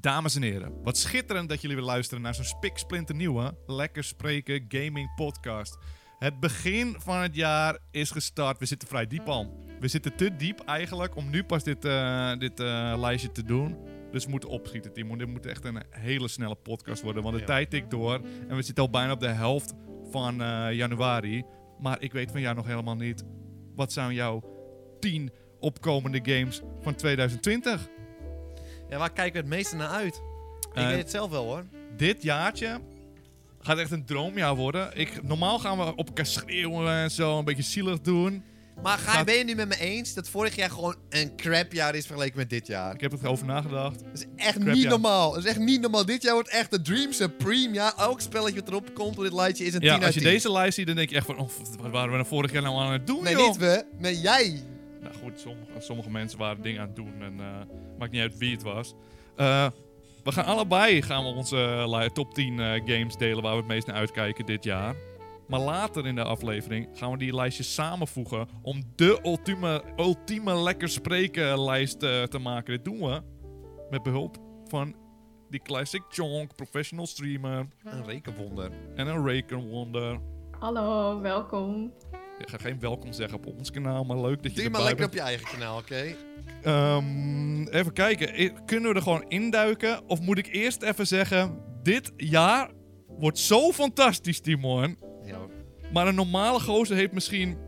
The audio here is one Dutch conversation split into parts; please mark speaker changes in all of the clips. Speaker 1: Dames en heren, wat schitterend dat jullie weer luisteren naar zo'n spiksplinternieuwe Lekker Spreken Gaming Podcast. Het begin van het jaar is gestart. We zitten vrij diep al. We zitten te diep eigenlijk om nu pas dit, eh, dit eh, lijstje te doen. Dus we moeten opschieten, Timo. Dit moet echt een hele snelle podcast worden, want de
Speaker 2: Ja.
Speaker 1: tijd tikt door. En we zitten al bijna op de helft van eh, januari. Maar ik weet van jou nog helemaal niet. Wat zijn jouw 10 opkomende games van 2020?
Speaker 2: Ja, waar kijken we het meeste naar uit? Ik
Speaker 1: Eh,
Speaker 2: weet het zelf wel hoor.
Speaker 1: dit jaartje gaat echt een droomjaar worden. Ik, normaal gaan we op elkaar schreeuwen en zo, een beetje zielig doen.
Speaker 2: Maar ga,
Speaker 1: gaat-
Speaker 2: ben je het nu met me eens dat vorig jaar gewoon een crapjaar is vergeleken met dit jaar?
Speaker 1: Ik heb er over nagedacht.
Speaker 2: Dat is echt
Speaker 1: Crapjaar.
Speaker 2: niet normaal. Dat is echt niet normaal. Dit jaar wordt echt de Dream Supreme jaar. Elk spelletje wat erop komt op dit lijstje is een 10
Speaker 1: Ja,
Speaker 2: uit
Speaker 1: als je
Speaker 2: 10.
Speaker 1: deze lijst ziet, dan denk je echt van, oh, wat waren we nou vorig jaar nou aan het doen,
Speaker 2: Nee,
Speaker 1: joh?
Speaker 2: niet we. Nee, jij.
Speaker 1: Nou goed, sommige, sommige mensen waren dingen aan het doen en eh, maakt niet uit wie het was. Eh, we gaan allebei gaan we onze li- top 10 eh, games delen waar we het meest naar uitkijken dit jaar. Maar later in de aflevering gaan we die lijstjes samenvoegen om de ultieme, ultieme lekker spreken lijst eh, te maken. Dit doen we met behulp van die Classic Chonk, professional streamer
Speaker 2: Een rekenwonder.
Speaker 1: en een rekenwonder.
Speaker 3: Hallo, welkom.
Speaker 1: Ik ga geen welkom zeggen op ons kanaal, maar leuk dat je
Speaker 2: Doe je
Speaker 1: erbij
Speaker 2: maar lekker
Speaker 1: bent.
Speaker 2: op je eigen kanaal, oké?
Speaker 1: Ehm, even kijken, I- kunnen we er gewoon induiken? Of moet ik eerst even zeggen, dit jaar wordt zo fantastisch, Timon.
Speaker 2: Ja, hoor.
Speaker 1: Maar een normale gozer heeft misschien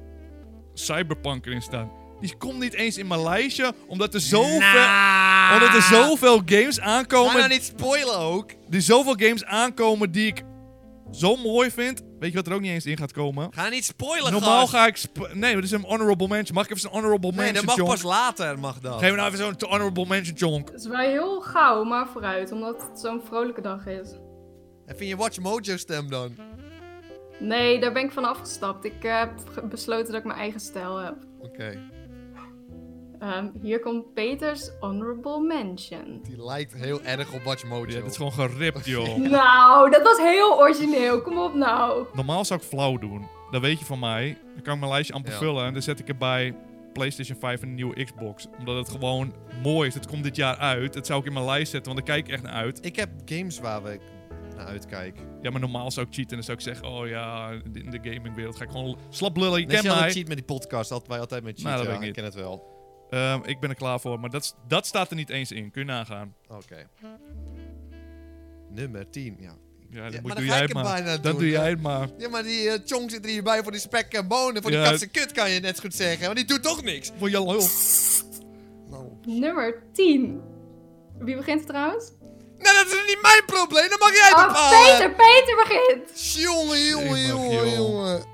Speaker 1: Cyberpunk erin staan. Die komt niet eens in mijn lijstje, omdat er zoveel,
Speaker 2: Nou.
Speaker 1: omdat er zoveel games
Speaker 2: Ga
Speaker 1: aankomen.
Speaker 2: nou niet spoilen ook.
Speaker 1: Er zoveel games aankomen die ik zo mooi vind. Weet je wat er ook niet eens in gaat komen?
Speaker 2: Ga niet spoilen,
Speaker 1: Normaal
Speaker 2: gast.
Speaker 1: ga ik... sp- Nee, dat is een honorable mention. Mag ik even een honorable
Speaker 2: Nee,
Speaker 1: mention,
Speaker 2: dat mag
Speaker 1: John?
Speaker 2: pas later, mag dat.
Speaker 1: Geef me nou even zo'n honorable mention, John.
Speaker 3: Het is wel heel gauw, maar vooruit, omdat het zo'n vrolijke dag is.
Speaker 2: Even in je Watch Mojo stem dan.
Speaker 3: Nee, daar ben ik van afgestapt. Ik eh, heb ge- besloten dat ik mijn eigen stijl heb.
Speaker 2: Oké,
Speaker 3: Ehm, hier komt Peters Honorable Mention.
Speaker 2: die lijkt heel erg op Watch Mojo.
Speaker 1: Ja, dit is gewoon geript, joh.
Speaker 3: Nou, dat was heel origineel. Kom op nou.
Speaker 1: Normaal zou ik flauw doen. Dat weet je van mij. Dan kan ik mijn lijstje amper
Speaker 2: Ja.
Speaker 1: vullen. En dan zet ik erbij PlayStation 5 en een nieuwe Xbox. Omdat het gewoon mooi is. Het komt dit jaar uit. Dat zou ik in mijn lijst zetten, want daar kijk ik echt naar uit.
Speaker 2: Ik heb games waar we naar uitkijken.
Speaker 1: Ja, maar normaal zou ik cheaten. En dan zou ik zeggen, oh ja, in de gamingwereld ga ik gewoon slap lullen. Je
Speaker 2: Net
Speaker 1: kent
Speaker 2: zoals
Speaker 1: mij.
Speaker 2: cheat met die podcast, altijd, wij altijd met
Speaker 1: Nou,
Speaker 2: cheat.
Speaker 1: dat
Speaker 2: ja,
Speaker 1: weet ik
Speaker 2: ik ken het wel.
Speaker 1: Ehm, ik ben er klaar voor. Maar dat, is- dat staat er niet eens in. Kun je nagaan.
Speaker 2: Oké. Nummer 10, ja.
Speaker 1: Ja, dat
Speaker 2: Ja,
Speaker 1: moet,
Speaker 2: maar dan
Speaker 1: doe
Speaker 2: ga
Speaker 1: jij
Speaker 2: ik
Speaker 1: het
Speaker 2: hem
Speaker 1: maar.
Speaker 2: bijna
Speaker 1: Dat
Speaker 2: doen,
Speaker 1: doe
Speaker 2: ja.
Speaker 1: jij het maar.
Speaker 2: Ja, maar die eh, Chong zit er hierbij voor die spek en bonen. Voor die
Speaker 1: Ja.
Speaker 2: katse kut kan je net zo goed zeggen, want die doet toch niks.
Speaker 1: Voor je lul.
Speaker 2: Nou,
Speaker 3: Nummer 10. Wie begint er trouwens?
Speaker 2: nou dat is niet mijn probleem, dat mag jij
Speaker 3: Oh,
Speaker 2: bepalen.
Speaker 3: Peter, Peter begint!
Speaker 2: Jongen, jongen,
Speaker 1: Jemig,
Speaker 2: jongen,
Speaker 1: joh.
Speaker 2: jongen.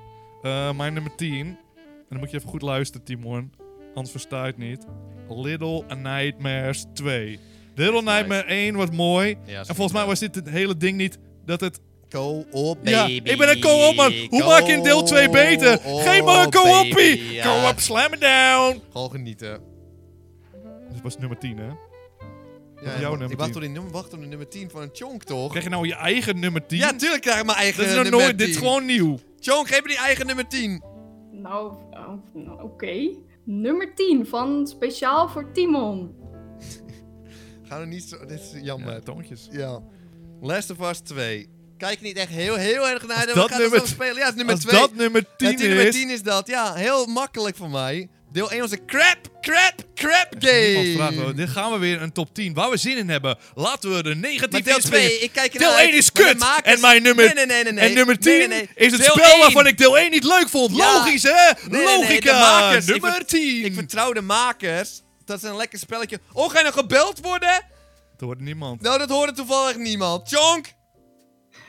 Speaker 1: Eh, mijn nummer 10. En dan moet je even goed luisteren, Timon. Anders versta je het niet. Little Nightmares 2. Little Nightmare 1 was mooi.
Speaker 2: Ja,
Speaker 1: en volgens mij was dit het hele ding niet dat het...
Speaker 2: Co-op, baby.
Speaker 1: Ja, ik ben een co-op man. Hoe maak je een deel 2 beter? Geef me een co-opie.
Speaker 2: baby, ja.
Speaker 1: Co-op, slam it down.
Speaker 2: Gewoon genieten.
Speaker 1: Dit was nummer 10, hè?
Speaker 2: Ja,
Speaker 1: jouw
Speaker 2: ik
Speaker 1: nummer
Speaker 2: wacht
Speaker 1: 10?
Speaker 2: op die nummer- wacht op de nummer 10 van een Chonk, toch?
Speaker 1: Krijg je nou je eigen nummer 10?
Speaker 2: Ja, tuurlijk krijg ik mijn eigen
Speaker 1: dat is nog
Speaker 2: nummer
Speaker 1: nooit... Dit is
Speaker 2: 10.
Speaker 1: gewoon nieuw.
Speaker 2: Chonk, geef me die eigen nummer 10.
Speaker 3: Nou, oh, nou, oké. Nummer 10 van Speciaal voor Timon.
Speaker 2: Ga er niet zo... Dit is jammer.
Speaker 1: Ja,
Speaker 2: Ja,
Speaker 1: Eh, toontjes.
Speaker 2: Last of Us 2. Kijk niet echt heel, heel erg naar.
Speaker 1: Als dat
Speaker 2: uit, we gaan er zo
Speaker 1: nummer-
Speaker 2: spelen. Ja, het is nummer
Speaker 1: Als
Speaker 2: 2.
Speaker 1: dat nummer 10
Speaker 2: ja, nummer
Speaker 1: is...
Speaker 2: 10 is dat. Ja, heel makkelijk voor mij. Deel 1 was een crap, crap, crap game.
Speaker 1: Niemand vraagt wel. Dit gaan we weer een top 10 waar we zin in hebben. Laten we de
Speaker 2: Maar
Speaker 1: negatieve
Speaker 2: deel
Speaker 1: inspringen.
Speaker 2: 2, ik kijk ernaar
Speaker 1: Deel
Speaker 2: uit,
Speaker 1: 1 is
Speaker 2: maar de
Speaker 1: kut.
Speaker 2: makers-
Speaker 1: En mijn nummer,
Speaker 2: Nee, nee, nee, nee, nee.
Speaker 1: En nummer 10
Speaker 2: Nee, nee, nee.
Speaker 1: is het
Speaker 2: Deel
Speaker 1: spel
Speaker 2: één.
Speaker 1: waarvan ik deel 1 niet leuk vond.
Speaker 2: Ja.
Speaker 1: Logisch, hè?
Speaker 2: Nee, nee, nee,
Speaker 1: Logica.
Speaker 2: de makers. Ik
Speaker 1: Nummer
Speaker 2: ver-
Speaker 1: 10.
Speaker 2: Ik vertrouw de makers. Dat is een lekker spelletje. Oh, ga je nou gebeld worden?
Speaker 1: Er hoort niemand.
Speaker 2: Nou, dat hoorde toevallig niemand. Chonk!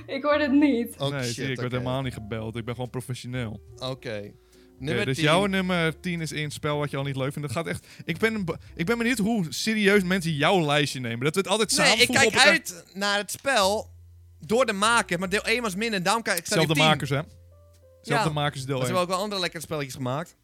Speaker 3: Ik hoorde het niet.
Speaker 2: Oh,
Speaker 1: nee,
Speaker 2: shit,
Speaker 1: zie je, ik werd
Speaker 2: oké.
Speaker 1: helemaal niet gebeld. Ik ben gewoon professioneel.
Speaker 2: Oké.
Speaker 1: Oké,
Speaker 2: Nummer
Speaker 1: dus
Speaker 2: 10.
Speaker 1: jouw nummer 10 is één spel wat je al niet leuk vindt. Dat gaat echt... Ik ben, be- ik ben benieuwd hoe serieus mensen jouw lijstje nemen. Dat we het altijd
Speaker 2: Nee,
Speaker 1: samen
Speaker 2: ik kijk uit naar het spel door de maker. Maar deel 1 was minder en daarom kijk ik staat die
Speaker 1: Zelfde
Speaker 2: 10.
Speaker 1: makers, hè? Zelfde makers
Speaker 2: Maar
Speaker 1: deel 1.
Speaker 2: Ze hebben ook wel andere lekkere spelletjes gemaakt.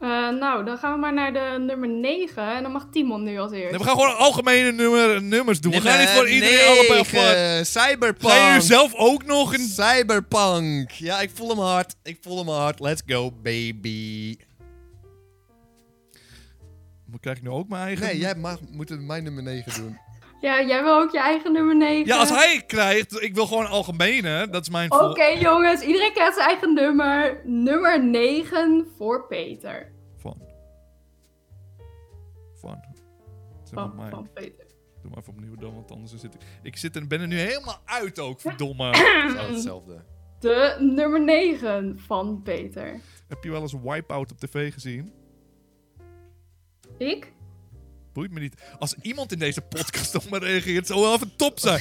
Speaker 3: Eh, nou, dan gaan we maar naar de nummer 9. En dan mag Timon nu als eerst.
Speaker 1: Nee, we gaan gewoon algemene nummer, nummers doen. we gaan niet voor iedereen allemaal voor.
Speaker 2: allemaal eh, Cyberpunk.
Speaker 1: Ga je zelf ook nog een...
Speaker 2: Cyberpunk. Ja, ik voel hem hard. Ik voel hem hard. Let's go, baby.
Speaker 1: Maar Krijg ik nu ook mijn eigen?
Speaker 2: Nee, jij mag, moet het mijn nummer 9 doen.
Speaker 3: Ja, jij wil ook je eigen nummer 9.
Speaker 1: Ja, als hij krijgt, ik wil gewoon algemene. Dat is mijn
Speaker 3: Oké
Speaker 1: vol-
Speaker 3: jongens, iedereen krijgt zijn eigen nummer. Nummer 9 voor Peter.
Speaker 1: Van. Van. Zeg maar
Speaker 3: Van,
Speaker 1: mij.
Speaker 3: van Peter.
Speaker 1: Doe maar even opnieuw dan, want anders zit ik... Ik zit en ben er nu helemaal uit ook, verdomme.
Speaker 2: Het is altijd hetzelfde.
Speaker 3: De nummer 9 van Peter.
Speaker 1: Heb je wel eens Wipeout op tv gezien?
Speaker 3: Ik?
Speaker 1: Boeit me niet. Als iemand in deze podcast op me reageert, zou wel even top zijn.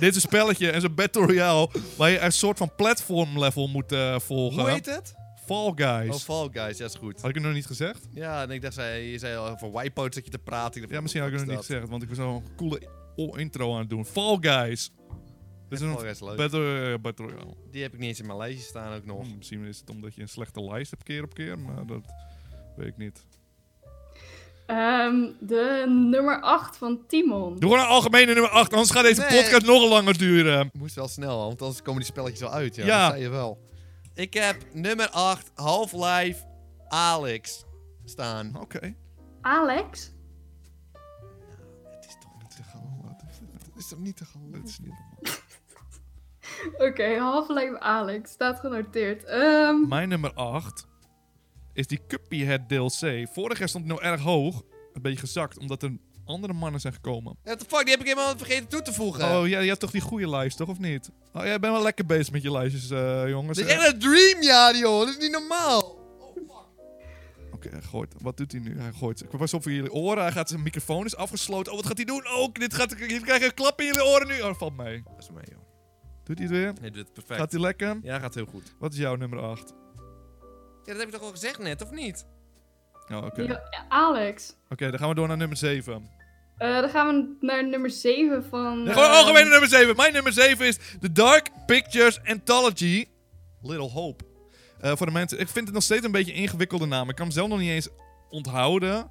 Speaker 1: Dit is een spelletje en zo'n Battle Royale waar je een soort van platform level moet eh, volgen.
Speaker 2: Hoe heet het?
Speaker 1: Fall Guys.
Speaker 2: Oh, Fall Guys, ja, is goed.
Speaker 1: Had ik het nog niet gezegd?
Speaker 2: Ja, en ik dacht, zei, je zei al over Wipeout zat je te praten. dacht,
Speaker 1: Ja, misschien had
Speaker 2: wat
Speaker 1: ik het nog
Speaker 2: is
Speaker 1: niet gezegd, want ik was al een coole o- intro aan het doen. Fall Guys. Dit is
Speaker 2: dat?
Speaker 1: een
Speaker 2: Fall Guys, leuk.
Speaker 1: Battle, eh, battle Royale.
Speaker 2: Die heb ik niet eens in mijn lijstje staan ook nog.
Speaker 1: Hm, misschien is het omdat je een slechte lijst hebt keer op keer, maar dat weet ik niet.
Speaker 3: Ehm, de nummer 8 van Timon.
Speaker 1: Doe gewoon een algemene nummer 8, anders gaat deze
Speaker 2: Nee.
Speaker 1: podcast nog langer duren.
Speaker 2: Moest wel snel, want anders komen die spelletjes wel uit. Ja,
Speaker 1: Ja.
Speaker 2: dat zei je wel. Ik heb nummer 8, Half-Life Alex staan.
Speaker 1: Oké.
Speaker 3: Alex?
Speaker 2: Het is toch niet te geloven. Het is toch niet te geloven.
Speaker 1: Dat is niet normaal.
Speaker 3: Oké, Half-Life Alex. Staat genoteerd. Ehm,
Speaker 1: Mijn nummer 8 is die Cuphead DLC. Vorig jaar stond het nog erg hoog. Een beetje gezakt, omdat er andere mannen zijn gekomen.
Speaker 2: What the fuck, die heb ik helemaal vergeten toe te voegen.
Speaker 1: Oh, ja, je hebt toch die goede lijst, toch? Of niet? Oh, jij bent wel lekker bezig met je lijstjes, eh, jongens.
Speaker 2: Dit is echt een dreamjaar, joh. Dat is niet normaal. Oh, fuck.
Speaker 1: Oké, hij gooit. Wat doet hij nu? Hij gooit. Ik Pas op voor jullie oren. Hij gaat zijn microfoon is afgesloten. Oh, wat gaat hij doen? Ook. dit gaat... Hier krijg je een klap in jullie oren nu. Oh, valt mee.
Speaker 2: Dat is mij, joh.
Speaker 1: Doet hij het weer?
Speaker 2: Nee, doet het perfect.
Speaker 1: Gaat hij lekker?
Speaker 2: Ja, gaat heel goed.
Speaker 1: Wat is jouw nummer 8?
Speaker 2: Ja, dat heb ik toch al gezegd net, of niet?
Speaker 1: Oh, oké. Oké,
Speaker 3: ja, ja, Alex.
Speaker 1: dan gaan we door naar nummer 7.
Speaker 3: Eh, dan gaan we naar nummer 7 van...
Speaker 1: Nee, gewoon
Speaker 3: ehm,
Speaker 1: algemene nummer 7. Mijn nummer 7 is The Dark Pictures Anthology. Little Hope. Eh, voor de mensen. Ik vind het nog steeds een beetje een ingewikkelde naam. Ik kan hem zelf nog niet eens onthouden.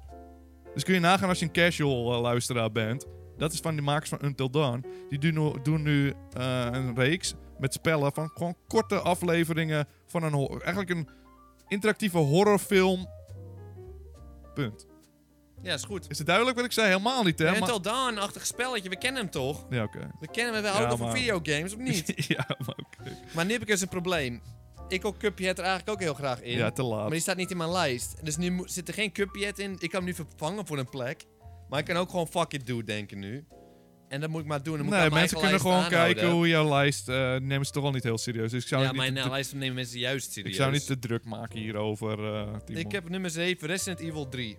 Speaker 1: Dus kun je nagaan als je een casual eh, luisteraar bent. Dat is van de makers van Until Dawn. Die doen nu, doen nu eh, een reeks met spellen van gewoon korte afleveringen van een hor- eigenlijk een interactieve horrorfilm. Punt.
Speaker 2: Ja, is goed.
Speaker 1: Is het duidelijk wat ik zei? Helemaal niet, hè?
Speaker 2: Ja,
Speaker 1: Maar-
Speaker 2: Until Dawn-achtig spelletje, we kennen hem toch?
Speaker 1: Ja, oké.
Speaker 2: We kennen hem, we
Speaker 1: Ja,
Speaker 2: houden van
Speaker 1: maar-
Speaker 2: videogames, of niet?
Speaker 1: ja, maar oké.
Speaker 2: maar nu heb ik eens een probleem. Ik ook Cuphead er eigenlijk ook heel graag in.
Speaker 1: Ja, te laat.
Speaker 2: maar die staat niet in mijn lijst. Dus nu mo- zit er geen Cuphead in. Ik kan hem nu vervangen voor een plek. Maar ik kan ook gewoon fuck it do denken nu. En dat moet ik maar doen. Dan moet ik
Speaker 1: Nee,
Speaker 2: aan mijn
Speaker 1: mensen kunnen
Speaker 2: eigen
Speaker 1: gewoon
Speaker 2: lijst aanhouden.
Speaker 1: kijken hoe jouw lijst. eh nemen ze toch al niet heel serieus. Dus ik zou,
Speaker 2: Ja,
Speaker 1: het niet,
Speaker 2: mijn
Speaker 1: te-
Speaker 2: eh, lijst nemen mensen juist serieus.
Speaker 1: ik zou niet te druk maken hierover. eh, Timon.
Speaker 2: Ik heb nummer 7, Resident Evil 3.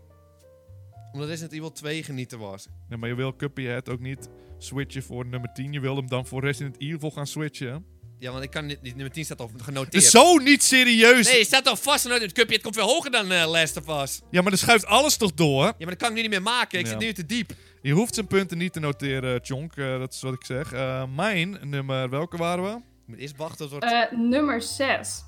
Speaker 2: Omdat Resident Evil 2 genieten was.
Speaker 1: Ja, maar je wil Cuphead ook niet switchen voor nummer 10. Je wil hem dan voor Resident Evil gaan switchen.
Speaker 2: Ja, want ik kan niet, die nummer 10 staat al genoteerd.
Speaker 1: Dus zo niet serieus!
Speaker 2: Nee, het staat al vast. En het cupje, het komt veel hoger dan eh Last of Us.
Speaker 1: Ja, maar dan schuift alles toch door?
Speaker 2: Ja, maar dat kan ik nu niet meer maken. Ik
Speaker 1: Ja.
Speaker 2: zit nu te diep.
Speaker 1: Je hoeft zijn punten niet te noteren, Chonk. eh, dat is wat ik zeg. Eh, mijn nummer, welke waren we?
Speaker 2: Ik moet eerst wachten tot... wordt.
Speaker 3: eh, nummer 6.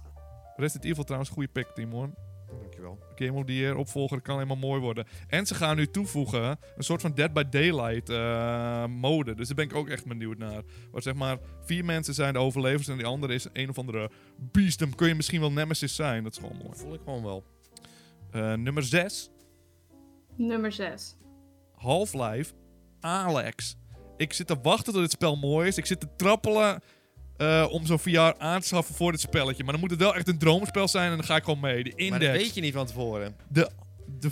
Speaker 1: Resident Evil trouwens, goede pick, Timon.
Speaker 2: Dankjewel.
Speaker 1: Game of the Year opvolger dat kan helemaal mooi worden. En ze gaan nu toevoegen een soort van Dead by Daylight eh, mode. Dus daar ben ik ook echt benieuwd naar. Waar zeg maar vier mensen zijn de overlevers en die andere is een of andere beast. Dan kun je misschien wel Nemesis zijn. Dat is gewoon mooi.
Speaker 2: Dat voel ik gewoon wel.
Speaker 1: Eh, nummer 6,
Speaker 3: Nummer 6.
Speaker 1: Half-Life Alex. Ik zit te wachten tot dit spel mooi is. Ik zit te trappelen eh, om zo'n VR aan te schaffen voor dit spelletje. Maar dan moet het wel echt een droomspel zijn en dan ga ik gewoon mee. De
Speaker 2: Maar dat
Speaker 1: index.
Speaker 2: weet je niet van tevoren.
Speaker 1: De, de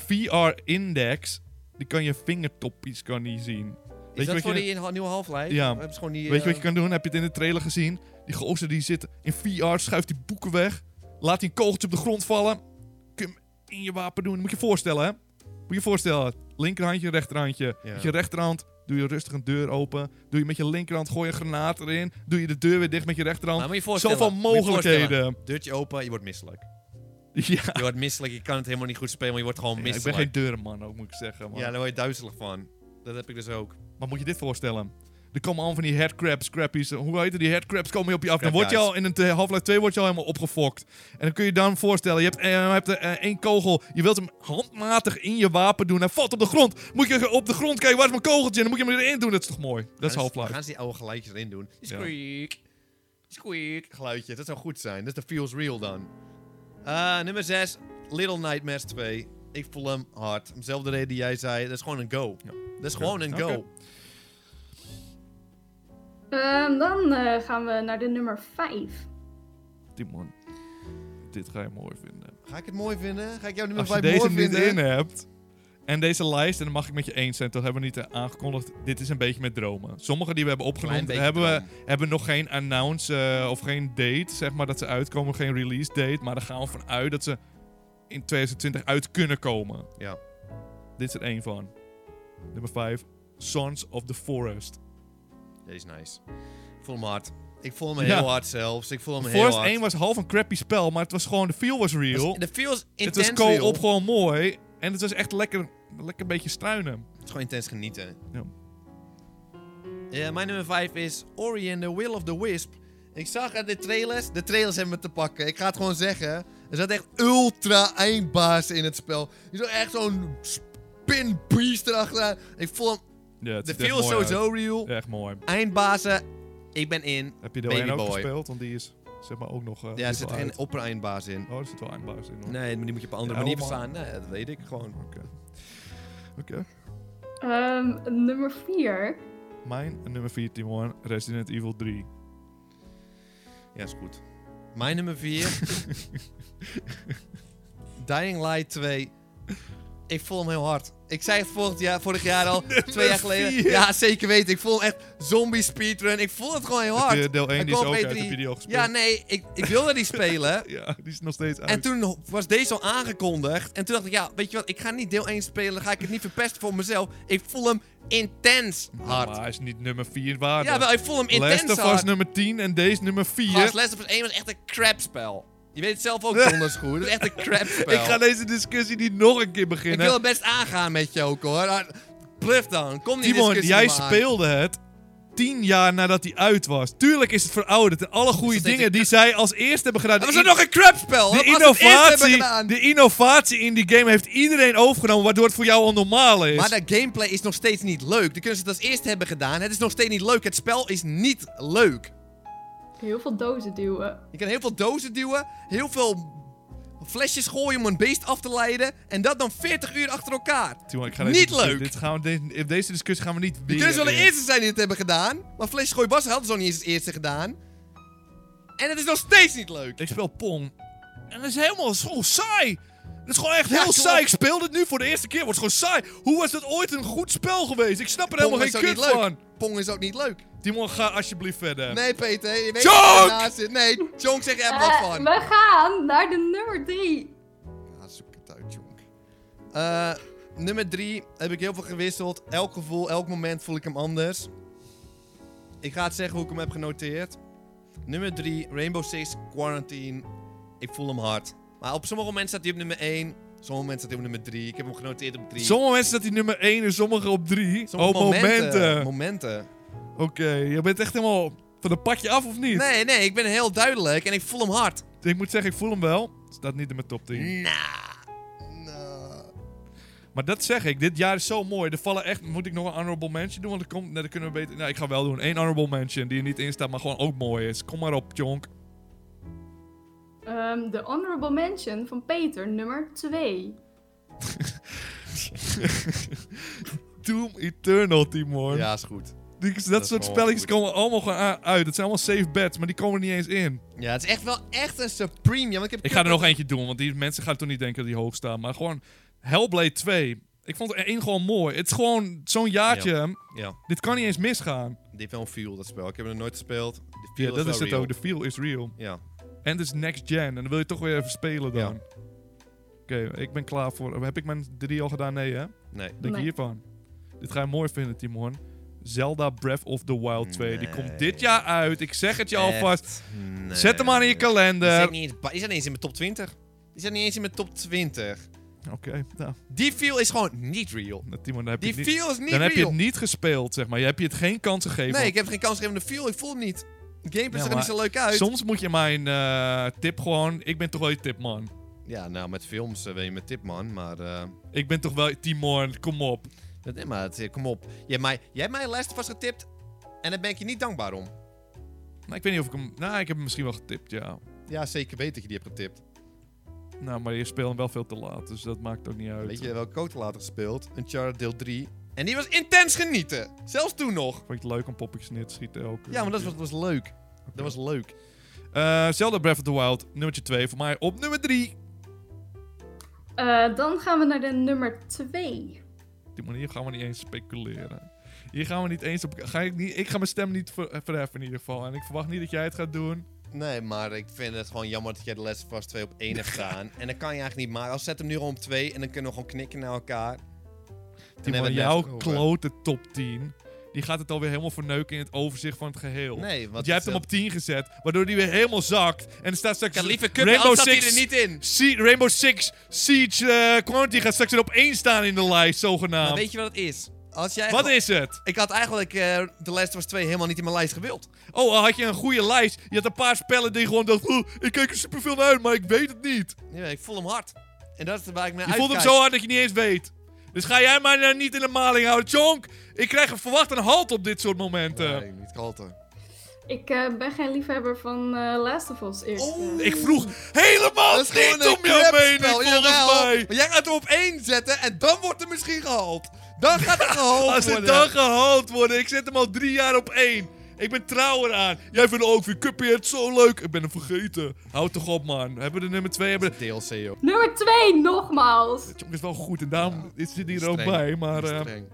Speaker 1: VR-index, die kan je vingertoppies kan niet zien.
Speaker 2: Is
Speaker 1: Weet je
Speaker 2: dat
Speaker 1: wat
Speaker 2: voor
Speaker 1: je-
Speaker 2: die in- nieuwe Half-Life?
Speaker 1: Ja.
Speaker 2: Hebben ze gewoon die,
Speaker 1: Weet je wat je
Speaker 2: eh,
Speaker 1: kan doen? Heb je het in de trailer gezien? Die gozer die zit in VR, schuift die boeken weg. Laat die een kogeltje op de grond vallen. Kun je hem in je wapen doen. Moet je je voorstellen, hè? Moet je je voorstellen. Linkerhandje, rechterhandje.
Speaker 2: Ja.
Speaker 1: Met je rechterhand doe je rustig een deur open. Doe je met je linkerhand, gooi je een granaat erin. Doe je de deur weer dicht met je rechterhand.
Speaker 2: Nou, moet je voorstellen.
Speaker 1: Zoveel
Speaker 2: Moet je voorstellen.
Speaker 1: mogelijkheden.
Speaker 2: Deurtje open, je wordt misselijk.
Speaker 1: Ja.
Speaker 2: Je wordt misselijk, je kan het helemaal niet goed spelen, maar je wordt gewoon
Speaker 1: Ja, ik
Speaker 2: misselijk.
Speaker 1: ben geen deurenman ook, moet ik zeggen. man.
Speaker 2: Ja, daar word je duizelig van. Dat heb ik dus ook.
Speaker 1: Maar moet je dit voorstellen? Er komen allemaal van die headcrabs, crappies. eh, Hoe heet het? Die headcrabs komen je op je af. Dan
Speaker 2: Crab
Speaker 1: word je
Speaker 2: guys.
Speaker 1: al in een te- Half-Life 2 word je al helemaal opgefokt. En dan kun je dan voorstellen, je hebt, eh, je hebt eh, één kogel. Je wilt hem handmatig in je wapen doen. Hij valt op de grond. Moet je op de grond kijken, waar is mijn kogeltje? En dan moet je hem erin doen. Dat is toch mooi? Dat is
Speaker 2: Dan dan
Speaker 1: Half-Life.
Speaker 2: gaan ze die oude geluidjes erin doen. Die
Speaker 1: Ja.
Speaker 2: Squeak. Squeak. Geluidje, dat zou goed zijn. Dat is de feels real dan. Eh, nummer 6, Little Nightmares 2. Ik voel hem hard. Om Dezelfde reden die jij zei. Dat is gewoon een go.
Speaker 1: Ja.
Speaker 2: Dat is gewoon een
Speaker 1: Oké.
Speaker 2: go.
Speaker 3: Ehm, dan eh, gaan we naar de nummer 5.
Speaker 1: Timon, dit ga je mooi vinden.
Speaker 2: Ga ik het mooi vinden? Ga ik jou nummer
Speaker 1: Als je
Speaker 2: 5
Speaker 1: deze
Speaker 2: mooi
Speaker 1: niet
Speaker 2: vinden?
Speaker 1: in hebt. En deze lijst, en dan mag ik met je eens zijn, dat hebben we niet eh, aangekondigd. Dit is een beetje met dromen. Sommige die we hebben
Speaker 2: Klein
Speaker 1: opgenomen,
Speaker 2: beetje
Speaker 1: hebben, we,
Speaker 2: dromen.
Speaker 1: hebben nog geen announce eh, of geen date, zeg maar, dat ze uitkomen. Geen release date, maar daar gaan we vanuit dat ze in 2020 uit kunnen komen.
Speaker 2: Ja.
Speaker 1: Dit is er één van. Nummer 5. Sons of the Forest.
Speaker 2: Deze is nice. Ik voel hem hard. Ik voel hem
Speaker 1: Ja.
Speaker 2: heel hard zelfs. Ik voel hem heel
Speaker 1: Forest
Speaker 2: hard.
Speaker 1: 1 was half een crappy spel, maar het was gewoon, de feel was real.
Speaker 2: De feel is
Speaker 1: het
Speaker 2: intens
Speaker 1: was co-op
Speaker 2: real.
Speaker 1: gewoon mooi. En het was echt lekker, lekker een beetje struinen.
Speaker 2: Het is gewoon intens genieten.
Speaker 1: Ja.
Speaker 2: Eh, mijn nummer 5 is Ori and the Will of the Wisp. Ik zag uit de trailers, de trailers hebben me te pakken. Ik ga het gewoon zeggen. Er zat echt ultra eindbaas in het spel. Je zag echt zo'n spin beast erachteraan. Ik voel hem,
Speaker 1: Ja, het
Speaker 2: de
Speaker 1: ziet er echt
Speaker 2: feel is
Speaker 1: mooi uit.
Speaker 2: sowieso real.
Speaker 1: Ja, Echt mooi.
Speaker 2: Eindbazen, ik ben in.
Speaker 1: Heb je deel 1 ook
Speaker 2: Babyboy.
Speaker 1: gespeeld? Want die is zeg maar ook nog. eh,
Speaker 2: Ja, er
Speaker 1: die
Speaker 2: zit
Speaker 1: is wel
Speaker 2: geen
Speaker 1: uit.
Speaker 2: opper-eindbaas in.
Speaker 1: Oh, er zit wel eindbaas in. hoor.
Speaker 2: Nee, die moet je op een andere
Speaker 1: Ja,
Speaker 2: manier
Speaker 1: allemaal.
Speaker 2: verstaan. Nee, dat weet ik gewoon.
Speaker 1: Oké. Oké.
Speaker 3: Ehm, nummer 4.
Speaker 1: Mijn eh, nummer 4, Timon, Resident Evil 3.
Speaker 2: Ja, is goed. Mijn nummer 4. Dying Light 2. Ik voel hem heel hard. Ik zei het vorig jaar, vorig jaar al, twee jaar geleden.
Speaker 1: vier.
Speaker 2: Ja, zeker weten. Ik voel hem echt zombie speedrun. Ik voel het gewoon heel
Speaker 1: Heb
Speaker 2: hard.
Speaker 1: je eh, deel 1
Speaker 2: Hij
Speaker 1: die is
Speaker 2: kwam
Speaker 1: ook
Speaker 2: op
Speaker 1: uit de
Speaker 2: E3.
Speaker 1: video gespeeld?
Speaker 2: Ja, nee, ik, ik wilde die spelen.
Speaker 1: Ja, die is nog steeds uit.
Speaker 2: En toen ho- was deze al aangekondigd. En toen dacht ik, ja, weet je wat, ik ga niet deel 1 spelen. Dan ga ik het niet verpesten voor mezelf. Ik voel hem intens
Speaker 1: Nou, Maar
Speaker 2: hard.
Speaker 1: hij is niet nummer 4 waard.
Speaker 2: Ja, wel, ik voel hem intens
Speaker 1: Last of Us
Speaker 2: hard.
Speaker 1: nummer 10 en deze nummer 4.
Speaker 2: Gast, Last of Us 1 was echt een crap spel. Je weet het zelf ook donders goed. Het is echt een crap spel.
Speaker 1: Ik ga deze discussie niet nog een keer
Speaker 2: Ik
Speaker 1: beginnen.
Speaker 2: wil het best aangaan met je ook hoor. Ah, Bluff dan, kom die
Speaker 1: Timon,
Speaker 2: discussie
Speaker 1: jij
Speaker 2: maar aan.
Speaker 1: speelde het tien jaar nadat hij uit was. Tuurlijk is het verouderd. En alle goede
Speaker 2: steeds een
Speaker 1: dingen die zij als eerste hebben gedaan.
Speaker 2: Dat
Speaker 1: de
Speaker 2: was er
Speaker 1: in-
Speaker 2: nog een crapspel.
Speaker 1: De
Speaker 2: Dat was het eerste hebben we
Speaker 1: innovatie,
Speaker 2: gedaan.
Speaker 1: de innovatie in die game heeft iedereen overgenomen, waardoor het voor jou onnormaal is.
Speaker 2: Maar de gameplay is nog steeds niet leuk. De kunnen ze het als eerste hebben gedaan. Het is nog steeds niet leuk. Het spel is niet leuk.
Speaker 3: Heel veel dozen duwen.
Speaker 2: Je kan heel veel dozen duwen, heel veel flesjes gooien om een beest af te leiden. En dat dan 40 uur achter elkaar.
Speaker 1: Timon, ik ga
Speaker 2: niet
Speaker 1: discussie-
Speaker 2: leuk.
Speaker 1: Dit gaan we, deze, deze discussie gaan we niet
Speaker 2: De
Speaker 1: weer
Speaker 2: kunnen ze wel de
Speaker 1: in.
Speaker 2: eerste zijn die het hebben gedaan. Maar flesjes gooien was hadden ze nog niet eens het eerste gedaan. En het is nog steeds niet leuk.
Speaker 1: Ik speel Pong. En dat is helemaal zo saai. Dat is gewoon echt
Speaker 2: Ja,
Speaker 1: heel
Speaker 2: klopt.
Speaker 1: saai. Ik speel dit nu voor de eerste keer. Wordt gewoon saai. Hoe was dat ooit een goed spel geweest? Ik snap er
Speaker 2: Pong
Speaker 1: helemaal
Speaker 2: is
Speaker 1: geen
Speaker 2: ook
Speaker 1: kut
Speaker 2: niet leuk.
Speaker 1: van.
Speaker 2: Pong is ook niet leuk.
Speaker 1: Timon, ga alsjeblieft verder.
Speaker 2: Nee, Peter, je weet
Speaker 1: Jonk!
Speaker 2: waar je naast zit. Nee, Jonk zegt er wat
Speaker 3: Eh,
Speaker 2: van.
Speaker 3: we gaan naar de nummer 3.
Speaker 2: Ja, zoek het uit, Jonk. Eh, nummer drie heb ik heel veel gewisseld. Elk gevoel, elk moment voel ik hem anders. Ik ga het zeggen hoe ik hem heb genoteerd. Nummer drie, Rainbow Six Quarantine. Ik voel hem hard. Maar op sommige momenten staat hij op nummer 1. Sommige momenten staat hij op nummer 3. Ik heb hem genoteerd op 3.
Speaker 1: Sommige mensen staat hij nummer 1 en sommige op 3.
Speaker 2: Sommige
Speaker 1: oh, momenten.
Speaker 2: Momenten.
Speaker 1: Oké, je bent echt helemaal van het padje af of niet?
Speaker 2: Nee, nee, ik ben heel duidelijk en ik voel hem hard.
Speaker 1: Ik moet zeggen, ik voel hem wel. Staat niet in mijn top 10.
Speaker 2: Nah. Nah.
Speaker 1: Maar dat zeg ik, dit jaar is zo mooi. Er vallen echt, moet ik nog een honorable mention doen? Want er komt, nee, dat kunnen we beter. Nou, ik ga wel doen. Eén honorable mention die er niet in staat, maar gewoon ook mooi is. Kom maar op, Jonk.
Speaker 3: Ehm, de honorable mention van Peter, nummer 2.
Speaker 1: Doom Eternal, Timon.
Speaker 2: Ja, is goed.
Speaker 1: Die, dat,
Speaker 2: is
Speaker 1: soort
Speaker 2: wel
Speaker 1: spelletjes
Speaker 2: goed.
Speaker 1: komen allemaal gewoon a- uit. Het zijn allemaal safe bets, maar die komen er niet eens in.
Speaker 2: Ja, het is echt wel echt een supreme. Ja, want ik heb
Speaker 1: Ik ga er nog eentje doen, want die mensen gaan toch niet denken dat die hoog staan. Maar gewoon Hellblade 2. Ik vond er één gewoon mooi. Het is gewoon zo'n jaartje.
Speaker 2: Ja,
Speaker 1: Dit kan niet eens misgaan.
Speaker 2: die heeft wel een feel, dat spel. Ik heb het nog nooit gespeeld. De feel
Speaker 1: Ja, dat
Speaker 2: wel
Speaker 1: is het
Speaker 2: real.
Speaker 1: ook. De feel is real.
Speaker 2: Ja.
Speaker 1: En het is next gen. En dan wil je toch weer even spelen dan.
Speaker 2: Ja.
Speaker 1: Oké, ik ben klaar voor. Heb ik mijn 3 al gedaan? Nee, hè?
Speaker 2: Nee.
Speaker 1: Denk
Speaker 3: Nee.
Speaker 1: hiervan. Dit ga je mooi vinden, Timon. Zelda Breath of the Wild 2. Die
Speaker 2: Nee.
Speaker 1: komt dit jaar uit. Ik zeg het je alvast.
Speaker 2: Nee.
Speaker 1: Zet hem aan in je
Speaker 2: Die
Speaker 1: kalender.
Speaker 2: zit niet eens- Die zit niet eens in mijn top 20. Die zit niet eens in mijn top 20.
Speaker 1: Oké, nou,
Speaker 2: Die feel is gewoon niet real.
Speaker 1: nou, Timon, dan heb je
Speaker 2: Die
Speaker 1: het niet,
Speaker 2: feel is niet
Speaker 1: dan
Speaker 2: real.
Speaker 1: heb je het niet gespeeld, zeg maar. Je hebt je het geen kans gegeven.
Speaker 2: nee, ik heb geen kans gegeven aan de feel. Ik voel hem niet. De gameplay
Speaker 1: Ja,
Speaker 2: ziet er niet
Speaker 1: maar
Speaker 2: zo leuk uit.
Speaker 1: Soms moet je mijn eh, tip gewoon... Ik ben toch wel je tipman.
Speaker 2: Ja, nou, met films eh, ben je mijn tip, man. Maar, eh,
Speaker 1: Ik ben toch wel Timon, kom op.
Speaker 2: dat- nee, maar het- eh, kom op. Jij hebt, mij, jij hebt mij Last of Us getipt. En daar ben ik je niet dankbaar om.
Speaker 1: Nou, ik weet niet of ik hem... Nou, ik heb hem misschien wel getipt, ja.
Speaker 2: Ja, zeker weet dat je die hebt getipt.
Speaker 1: Nou, maar je speelt hem wel veel te laat, dus dat maakt ook niet uit.
Speaker 2: Weet je welke code later gespeeld? Uncharted deel 3. En die was intens genieten. Zelfs toen nog.
Speaker 1: Vond je het leuk om poppetjes neer te schieten ook?
Speaker 2: Ja, maar dat was, was leuk. Dat was leuk.
Speaker 1: Eh, Zelda Breath of the Wild, nummertje 2 voor mij op nummer 3.
Speaker 3: Eh, dan gaan we naar de nummer 2.
Speaker 1: Die manier gaan we niet eens speculeren. Hier gaan we niet eens op. Ga ik, niet, ik ga mijn stem niet ver- verheffen in ieder geval. En ik verwacht niet dat jij het gaat doen.
Speaker 2: Nee, maar ik vind het gewoon jammer dat jij de Les vast 2 op 1 hebt gedaan. En dat kan je eigenlijk niet maken. Als zet hem nu gewoon op 2 en dan kunnen we gewoon knikken naar elkaar.
Speaker 1: Die
Speaker 2: hebben
Speaker 1: van
Speaker 2: we
Speaker 1: jouw
Speaker 2: net over.
Speaker 1: klote top 10. Die gaat het alweer helemaal verneuken in het overzicht van het geheel.
Speaker 2: Nee, want
Speaker 1: Want jij hebt hem op 10 gezet, waardoor die weer helemaal zakt. En er staat straks
Speaker 2: Lieve
Speaker 1: Rainbow
Speaker 2: Rainbow zat hij
Speaker 1: Six-
Speaker 2: er niet in.
Speaker 1: Sie- Rainbow Six Siege eh, Quantity gaat straks weer op één staan in de lijst,
Speaker 2: Maar
Speaker 1: zogenaamd.
Speaker 2: weet je wat het is? Als jij
Speaker 1: Wat is het?
Speaker 2: Ik had eigenlijk eh, de The Last of Us 2 helemaal niet in mijn lijst gewild.
Speaker 1: Oh, al had je een goede lijst. Je had een paar spellen die je gewoon dacht, "Oeh, ik kijk er superveel naar uit, maar ik weet het niet.
Speaker 2: Nee, ik voel hem hard. En dat is waar ik naar
Speaker 1: Je
Speaker 2: uitkijk.
Speaker 1: voelt hem zo hard dat je niet eens weet. Dus ga jij mij nou niet in de maling houden, Chonk. Ik krijg een verwacht een halt op dit soort momenten.
Speaker 2: Nee, niet kalter.
Speaker 1: Oh,
Speaker 3: Ik eh, ben geen liefhebber van eh, Last of Us eerst. Eh,
Speaker 2: Oh,
Speaker 1: Ik vroeg helemaal
Speaker 2: Dat is gewoon
Speaker 1: niet
Speaker 2: een
Speaker 1: om jouw mening,
Speaker 2: crapspel,
Speaker 1: volgens
Speaker 2: jawel.
Speaker 1: mij.
Speaker 2: Maar jij gaat hem op één zetten en dan wordt er misschien gehaald. Dan gaat er gehaald
Speaker 1: Als dit
Speaker 2: worden.
Speaker 1: dan gehaald worden, ik zet hem al drie jaar op één. Ik ben trouw eraan. Jij vindt ook weer Cuphead zo leuk. Ik ben hem vergeten. Houd toch op, man. Hebben we de nummer twee? Hebben we...
Speaker 2: DLC, joh.
Speaker 3: Nummer 2, nogmaals.
Speaker 1: Jongen, is wel goed en daarom is zit hij er ook
Speaker 2: Streng.
Speaker 1: bij. Maar eh,
Speaker 2: Streng.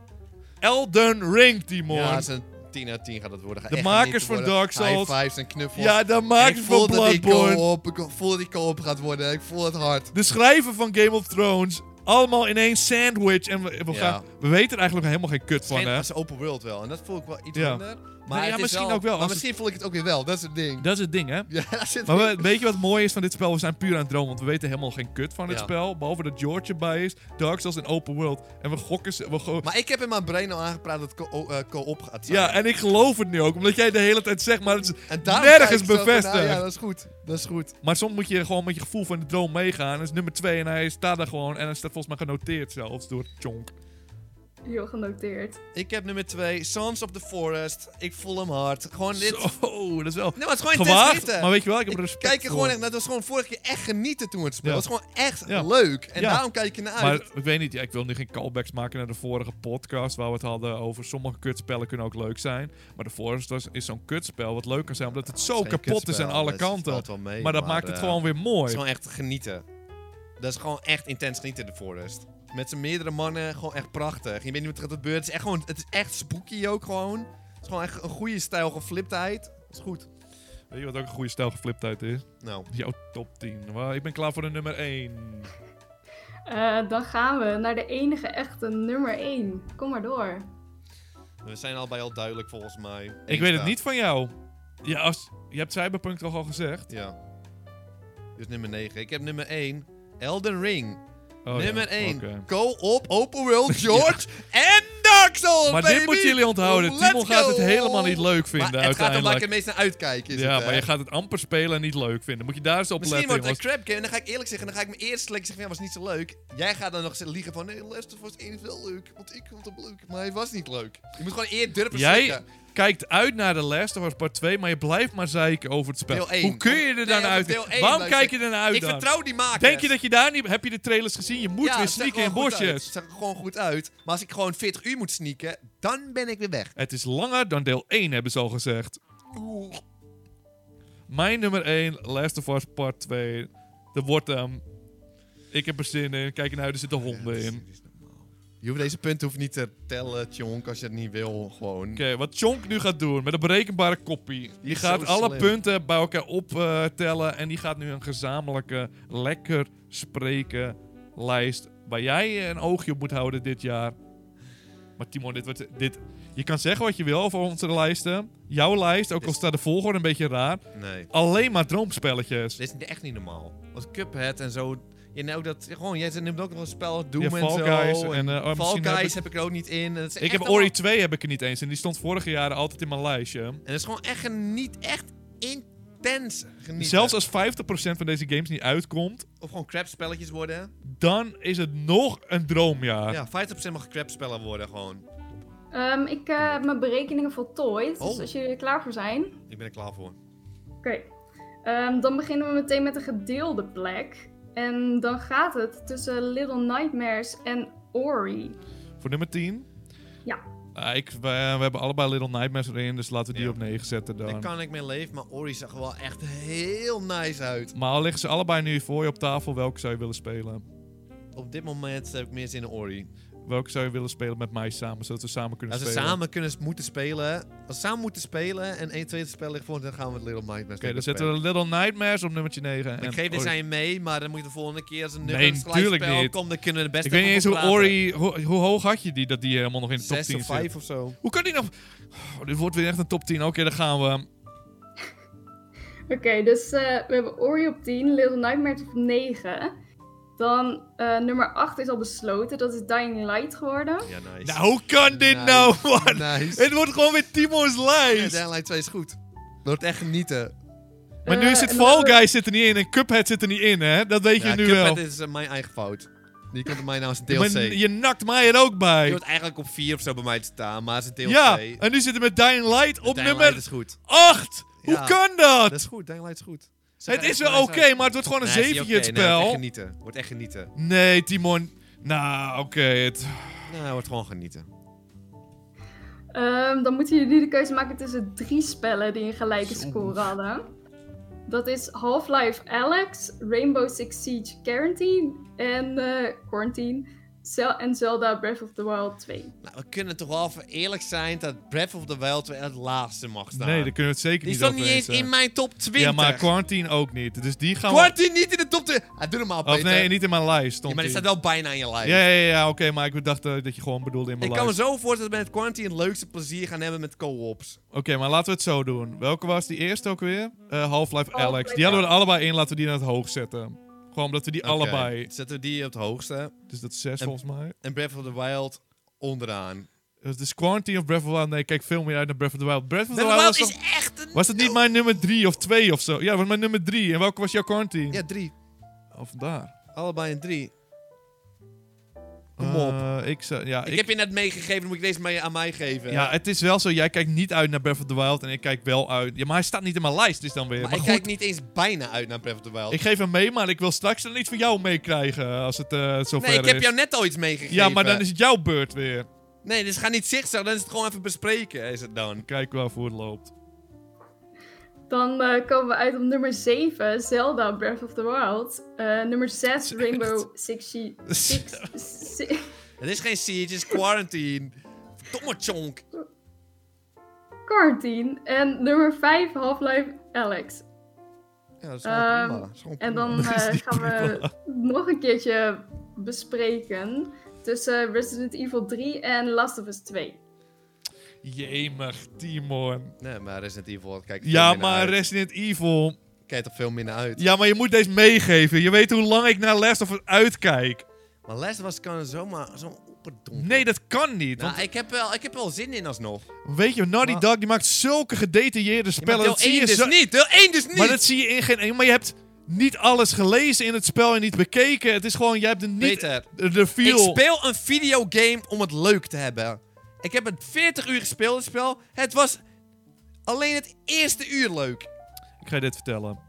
Speaker 1: Elden Ring, Timon.
Speaker 2: Ja,
Speaker 1: Ja,
Speaker 2: het is een 10 uit 10 gaat het worden. Ga
Speaker 1: De
Speaker 2: echt
Speaker 1: makers
Speaker 2: genieten
Speaker 1: van
Speaker 2: worden.
Speaker 1: Dark Souls.
Speaker 2: High fives en knuffels.
Speaker 1: dat maakt
Speaker 2: ik
Speaker 1: het
Speaker 2: voel
Speaker 1: voor
Speaker 2: dat ik
Speaker 1: Bloodborne.
Speaker 2: co-op, ik voel dat ik co-op gaat worden. Ik voel het hard.
Speaker 1: De schrijver van Game of Thrones. Allemaal in één sandwich. En we, we,
Speaker 2: Ja.
Speaker 1: gaan, we weten er eigenlijk helemaal geen kut van,
Speaker 2: Van,
Speaker 1: hè?
Speaker 2: is open world wel. En dat voel ik wel iets
Speaker 1: Ja.
Speaker 2: minder. Maar
Speaker 1: ja,
Speaker 2: het is
Speaker 1: misschien ook wel,
Speaker 2: Maar
Speaker 1: als
Speaker 2: misschien voel ik het ook weer wel. Dat is het ding.
Speaker 1: Dat is het ding, hè?
Speaker 2: Ja, dat is het
Speaker 1: Maar
Speaker 2: ding.
Speaker 1: we- weet je wat mooi is van dit spel? We zijn puur aan het dromen, want we weten helemaal geen kut van dit
Speaker 2: Ja.
Speaker 1: spel. Behalve dat George erbij is, Dark Souls en Open World. En we gokken ze... We go-
Speaker 2: Maar ik heb in mijn brein al aangepraat dat het co- eh, co-op gaat zijn.
Speaker 1: ja, en ik geloof het nu ook, omdat jij de hele tijd zegt, maar, het is
Speaker 2: En daarom
Speaker 1: nergens
Speaker 2: kijk ik zo van, nou
Speaker 1: bevestigd.
Speaker 2: ja, dat is goed. Dat is goed.
Speaker 1: Maar soms moet je gewoon met je gevoel van de droom meegaan. Dat is nummer 2 en hij staat daar gewoon. En hij staat volgens mij genoteerd zelfs door Chonk.
Speaker 3: Heel genoteerd.
Speaker 2: Ik heb nummer 2, Sons of the Forest. Ik voel hem hard. Gewoon dit.
Speaker 1: Zo, dat is wel
Speaker 2: Nee, maar het is gewoon intens
Speaker 1: gewaagd.
Speaker 2: genieten.
Speaker 1: Maar weet je wel, ik heb respect
Speaker 2: Kijk er
Speaker 1: voor.
Speaker 2: gewoon echt naar. Dat was gewoon vorige keer echt genieten toen we het speelden.
Speaker 1: Ja.
Speaker 2: Het was gewoon echt
Speaker 1: Ja.
Speaker 2: leuk. En
Speaker 1: Ja.
Speaker 2: daarom kijk je naar
Speaker 1: Maar
Speaker 2: uit.
Speaker 1: ik weet niet, ja, ik wil nu geen callbacks maken naar de vorige podcast waar we het hadden over sommige kutspellen kunnen ook leuk zijn. Maar de Forest was, is zo'n kutspel wat leuk kan zijn omdat het zo
Speaker 2: Het is geen
Speaker 1: kapot is aan
Speaker 2: kutspel,
Speaker 1: alle
Speaker 2: dus het
Speaker 1: kanten.
Speaker 2: valt wel mee,
Speaker 1: maar dat maakt het
Speaker 2: eh,
Speaker 1: gewoon weer
Speaker 2: Het
Speaker 1: mooi.
Speaker 2: is gewoon echt genieten. Dat is gewoon echt intens genieten, de Forest. Met zijn meerdere mannen, gewoon echt prachtig. Je weet niet wat er gaat gebeuren. Het is echt, gewoon, het is echt spooky ook gewoon. Het is gewoon echt een goede stijl gefliptheid. Dat is goed.
Speaker 1: Weet je wat ook een goede stijl gefliptheid is?
Speaker 2: Nou,
Speaker 1: Jouw top 10. Waar- Ik ben klaar voor de nummer 1.
Speaker 3: Eh, dan gaan we naar de enige echte nummer 1. Kom maar door.
Speaker 2: we zijn allebei al duidelijk volgens mij.
Speaker 1: Ik weet het niet van jou. Ja, als, je hebt Cyberpunk toch al gezegd?
Speaker 2: Ja. Dus nummer 9. Ik heb nummer 1. Elden Ring.
Speaker 1: Oh,
Speaker 2: nummer
Speaker 1: ja,
Speaker 2: 1.
Speaker 1: oké.
Speaker 2: Go op Open World George en Dark Souls,
Speaker 1: Maar
Speaker 2: baby!
Speaker 1: dit moeten jullie onthouden.
Speaker 2: Let's
Speaker 1: Timon gaat het
Speaker 2: go!
Speaker 1: helemaal niet leuk vinden
Speaker 2: maar het gaat om
Speaker 1: uiteindelijk.
Speaker 2: waar ik het meest naar uitkijk. Is
Speaker 1: ja,
Speaker 2: het, hè?
Speaker 1: maar je gaat het amper spelen en niet leuk vinden. Moet je daar eens op
Speaker 2: Misschien
Speaker 1: letten.
Speaker 2: wordt het
Speaker 1: jongens.
Speaker 2: een crap game. En dan ga ik eerlijk zeggen, dan ga ik mijn eerste selectie zeggen van ja, was niet zo leuk. Jij gaat dan nog zitten liegen van nee, Last of Us 1 is wel leuk. Want ik vond het leuk, maar hij was niet leuk. Je moet gewoon eer durven
Speaker 1: Jij
Speaker 2: zeggen.
Speaker 1: kijkt uit naar de Last of Us Part 2, maar je blijft maar zeiken over het spel.
Speaker 2: Deel één.
Speaker 1: Hoe kun je er
Speaker 2: Nee,
Speaker 1: dan
Speaker 2: over
Speaker 1: uit?
Speaker 2: deel één,
Speaker 1: Waarom
Speaker 2: luister.
Speaker 1: kijk je er naar uit
Speaker 2: Ik
Speaker 1: dan?
Speaker 2: vertrouw die maker.
Speaker 1: Denk je dat je daar niet... Heb je de trailers gezien? Je moet weer sneaken in
Speaker 2: Het
Speaker 1: bosjes.
Speaker 2: zag er gewoon goed uit. Maar als ik gewoon 40 uur moet sneaken, dan ben ik weer weg.
Speaker 1: Het is langer dan deel 1, hebben ze al gezegd.
Speaker 2: Oeh.
Speaker 1: Mijn nummer 1, Last of Us Part 2. Dat wordt hem. Ik heb er zin in. Kijk ernaar uit, er zitten honden in. Oké,
Speaker 2: Je hoeft deze punten hoeft niet te tellen, Tjonk, als je het niet wil. Gewoon.
Speaker 1: wat Chonk nu gaat doen met een berekenbare koppie. Die
Speaker 2: is
Speaker 1: gaat
Speaker 2: zo
Speaker 1: alle
Speaker 2: slim.
Speaker 1: punten bij elkaar optellen. en die gaat nu een gezamenlijke, lekker spreken lijst. Waar jij een oogje op moet houden dit jaar. Maar Timon, dit wordt. Dit, je kan zeggen wat je wil over onze lijsten. Jouw lijst, ook al
Speaker 2: Dit-
Speaker 1: staat de volgorde een beetje raar.
Speaker 2: Nee.
Speaker 1: Alleen maar droomspelletjes.
Speaker 2: Dit is echt niet normaal. Als Cuphead en zo. Je nou dat, gewoon, jij neemt ook nog een spel, Doom
Speaker 1: Ja,
Speaker 2: en
Speaker 1: Fall
Speaker 2: zo.
Speaker 1: Guys en, eh, oh,
Speaker 2: Fall
Speaker 1: misschien heb
Speaker 2: Guys
Speaker 1: ik-
Speaker 2: heb ik er ook niet in. En het is
Speaker 1: Ik
Speaker 2: echt
Speaker 1: heb
Speaker 2: allemaal-
Speaker 1: Ori 2 heb ik er niet eens en die stond vorige jaren altijd in mijn lijstje.
Speaker 2: En het is gewoon echt een niet echt intens genieten.
Speaker 1: Zelfs als 50% van deze games niet uitkomt,
Speaker 2: Of gewoon crap spelletjes worden.
Speaker 1: dan is het nog een droomjaar.
Speaker 2: Ja, 50% mag crap spellen worden gewoon.
Speaker 3: Ehm, ik eh, heb mijn berekeningen voltooid. Dus
Speaker 2: Oh.
Speaker 3: als jullie er klaar voor zijn.
Speaker 2: Ik ben er klaar voor.
Speaker 3: Oké. Ehm, dan beginnen we meteen met de gedeelde plek. En dan gaat het tussen Little Nightmares en Ori.
Speaker 1: Voor nummer 10?
Speaker 3: Ja.
Speaker 1: Ah, ik, we, we hebben allebei Little Nightmares erin, dus laten we die
Speaker 2: Ja.
Speaker 1: op 9 zetten dan.
Speaker 2: Daar kan ik mee leven, maar Ori zag er wel echt heel nice uit.
Speaker 1: Maar al liggen ze allebei nu voor je op tafel, welke zou je willen spelen?
Speaker 2: Op dit moment heb ik meer zin in Ori.
Speaker 1: Welke zou je willen spelen met mij samen, zodat we samen kunnen
Speaker 2: Als we
Speaker 1: spelen?
Speaker 2: samen kunnen moeten spelen, als we samen moeten spelen en 1 tweede spel ligt voor, dan gaan we het Little Nightmares
Speaker 1: Oké, dan
Speaker 2: lekker
Speaker 1: zetten we Little Nightmares op nummertje 9. en
Speaker 2: Ik geef dit
Speaker 1: Ori.
Speaker 2: aan je mee, maar dan moet je de volgende keer als een
Speaker 1: Nee,
Speaker 2: nummer
Speaker 1: tuurlijk
Speaker 2: spel
Speaker 1: niet.
Speaker 2: komt, dan kunnen we de beste
Speaker 1: Ik weet niet eens hoe
Speaker 2: over praten.
Speaker 1: Ori... Hoe, hoe hoog had je die, dat die helemaal nog in de top
Speaker 2: Zes
Speaker 1: 10
Speaker 2: of
Speaker 1: zit?
Speaker 2: vijf of zo.
Speaker 1: Hoe kan die nog... Oh, dit wordt weer echt een top 10. Oké, dan gaan we.
Speaker 3: Oké, dus eh, we hebben Ori op 10, Little Nightmares op 9. Dan eh, nummer 8 is al besloten, dat is Dying Light geworden.
Speaker 2: Ja, nice.
Speaker 1: Nou, hoe kan dit
Speaker 2: Nice.
Speaker 1: nou, man?
Speaker 2: Nice.
Speaker 1: Het wordt gewoon weer Timo's
Speaker 2: Ja,
Speaker 1: lijst.
Speaker 2: Dying Light 2 is goed. Dat wordt echt genieten.
Speaker 1: maar nu
Speaker 3: Eh,
Speaker 1: zit
Speaker 3: en
Speaker 1: Fall
Speaker 3: dan-
Speaker 1: Guys zit er niet in en Cuphead zit er niet in, hè? Dat weet
Speaker 2: Ja,
Speaker 1: je nu
Speaker 2: Cuphead
Speaker 1: wel.
Speaker 2: is eh, mijn eigen fout. Die komt bij mij nou als een
Speaker 1: Maar
Speaker 2: DLC.
Speaker 1: n-
Speaker 2: Die
Speaker 1: je nakt mij er ook bij.
Speaker 2: hoort eigenlijk op 4 of zo bij mij te staan, maar het is een DLC.
Speaker 1: Ja,
Speaker 2: En
Speaker 1: en nu zitten we met Dying Light op
Speaker 2: Dying Light
Speaker 1: nummer
Speaker 2: is goed.
Speaker 1: 8.
Speaker 2: Ja,
Speaker 1: Hoe kan dat?
Speaker 2: Dat is goed, Dying Light is goed. Ze
Speaker 1: het
Speaker 2: gaan
Speaker 1: is
Speaker 2: echt
Speaker 1: wel
Speaker 2: nice
Speaker 1: oké,
Speaker 2: uit.
Speaker 1: maar het wordt gewoon een
Speaker 2: Nee, is niet
Speaker 1: zeventje
Speaker 2: oké.
Speaker 1: het
Speaker 2: Nee, wordt echt
Speaker 1: spel.
Speaker 2: genieten. Wordt echt genieten.
Speaker 1: nee, Timon. Nou, oké. het-
Speaker 2: Nou, wordt gewoon genieten.
Speaker 3: Ehm, dan moeten jullie de keuze maken tussen drie spellen die een gelijke
Speaker 1: Zo.
Speaker 3: score hadden. Dat is Half-Life Alex, Rainbow Six Siege Quarantine en eh, Quarantine Zel- en Zelda Breath of the Wild 2.
Speaker 2: Nou, we kunnen toch wel even eerlijk zijn dat Breath of the Wild weer het laatste mag staan.
Speaker 1: Nee, daar kunnen we het zeker
Speaker 2: die
Speaker 1: niet
Speaker 2: is toch
Speaker 1: over
Speaker 2: niet eens
Speaker 1: eens
Speaker 2: in
Speaker 1: zijn.
Speaker 2: mijn top 20.
Speaker 1: Ja, maar Quarantine ook niet. Dus die gaan we...
Speaker 2: Quarantine niet in de top 20. Ah, doe normaal, Peter.
Speaker 1: Of nee, niet in mijn lijst stond
Speaker 2: Ja, maar die
Speaker 1: die.
Speaker 2: staat wel bijna in je lijst.
Speaker 1: Ja, ja, ja, ja, oké, maar ik dacht eh, dat je gewoon bedoelde in mijn
Speaker 2: Ik kan me
Speaker 1: lijst.
Speaker 2: zo voorstellen dat we met Quarantine het leukste plezier gaan hebben met co-ops.
Speaker 1: Oké, maar laten we het zo doen. Welke was die eerste ook weer? Eh, Half-Life
Speaker 3: Half-Life
Speaker 1: Alex. Die hadden we er allebei in, laten we die naar het hoog zetten. Gewoon omdat we die allebei...
Speaker 2: Oké, Zetten we die op het hoogste.
Speaker 1: Dus dat is zes
Speaker 2: En-
Speaker 1: volgens mij.
Speaker 2: En Breath of the Wild onderaan.
Speaker 1: Dus de Quarantine of Breath of the Wild. Nee, ik kijk veel meer uit naar Breath of the Wild. Breath of the,
Speaker 2: Breath of
Speaker 1: Wild,
Speaker 2: the Wild
Speaker 1: was,
Speaker 2: is echt een...
Speaker 1: toch- was dat niet mijn nummer drie of twee of zo? Ja, dat was mijn nummer drie. En welke was jouw Quarantine?
Speaker 2: Ja, drie.
Speaker 1: Of daar.
Speaker 2: Allebei een drie. Kom op.
Speaker 1: Eh, ik zou... Ja,
Speaker 2: ik,
Speaker 1: ik-
Speaker 2: heb je net meegegeven, dan moet ik deze mee aan mij geven.
Speaker 1: ja, het is wel zo. Jij kijkt niet uit naar Breath of the Wild en ik kijk wel uit. Ja, maar hij staat niet in mijn lijst, is dan weer.
Speaker 2: maar
Speaker 1: Maar,
Speaker 2: ik
Speaker 1: goed,
Speaker 2: kijk niet eens bijna uit naar Breath of the Wild.
Speaker 1: ik geef hem mee, maar ik wil straks dan iets van jou meekrijgen als het eh zover
Speaker 2: nee, ik heb
Speaker 1: is.
Speaker 2: jou net al iets meegegeven.
Speaker 1: Ja, maar dan is het jouw beurt weer.
Speaker 2: Nee, dus ga niet zigzag, dan is het gewoon even bespreken, is het dan.
Speaker 1: Kijk wel hoe het loopt.
Speaker 3: Dan eh, komen we uit op nummer 7, Zelda Breath of the Wild. Eh, nummer 6, Rainbow Six Siege. Six, si-
Speaker 2: Het is geen siege, het is quarantine. Verdomme chonk.
Speaker 3: Quarantine. En nummer 5, Half-Life Alex.
Speaker 2: Ja, dat is
Speaker 3: gewoon Ehm, prima, En dan eh, gaan we nog een keertje bespreken tussen Resident Evil 3 en Last of Us 2.
Speaker 1: Jemig, Timon.
Speaker 2: Nee, maar Resident Evil, kijk er
Speaker 1: Ja,
Speaker 2: veel minder
Speaker 1: maar
Speaker 2: uit.
Speaker 1: Resident Evil.
Speaker 2: Kijk er veel minder uit.
Speaker 1: Ja, maar je moet deze meegeven. Je weet hoe lang ik naar Last of Us uitkijk.
Speaker 2: Maar Last was kan zomaar zo'n operdonk.
Speaker 1: Nee, dat kan niet.
Speaker 2: Nou,
Speaker 1: Want
Speaker 2: ik heb, wel, ik heb wel zin in alsnog.
Speaker 1: weet je, Naughty
Speaker 2: Nou, Maar-
Speaker 1: Dog die maakt zulke gedetailleerde
Speaker 2: maar
Speaker 1: spellen.
Speaker 2: deel
Speaker 1: dat zie
Speaker 2: 1
Speaker 1: je
Speaker 2: dus
Speaker 1: zo-
Speaker 2: niet, deel 1 dus niet!
Speaker 1: Maar dat zie je in geen één. Maar je hebt niet alles gelezen in het spel en niet bekeken. Het is gewoon, jij hebt er niet
Speaker 2: Peter,
Speaker 1: de reveal.
Speaker 2: Ik speel een videogame om het leuk te hebben. Ik heb het 40 uur gespeeld, het spel. Het was alleen het eerste uur leuk.
Speaker 1: Ik ga je dit vertellen.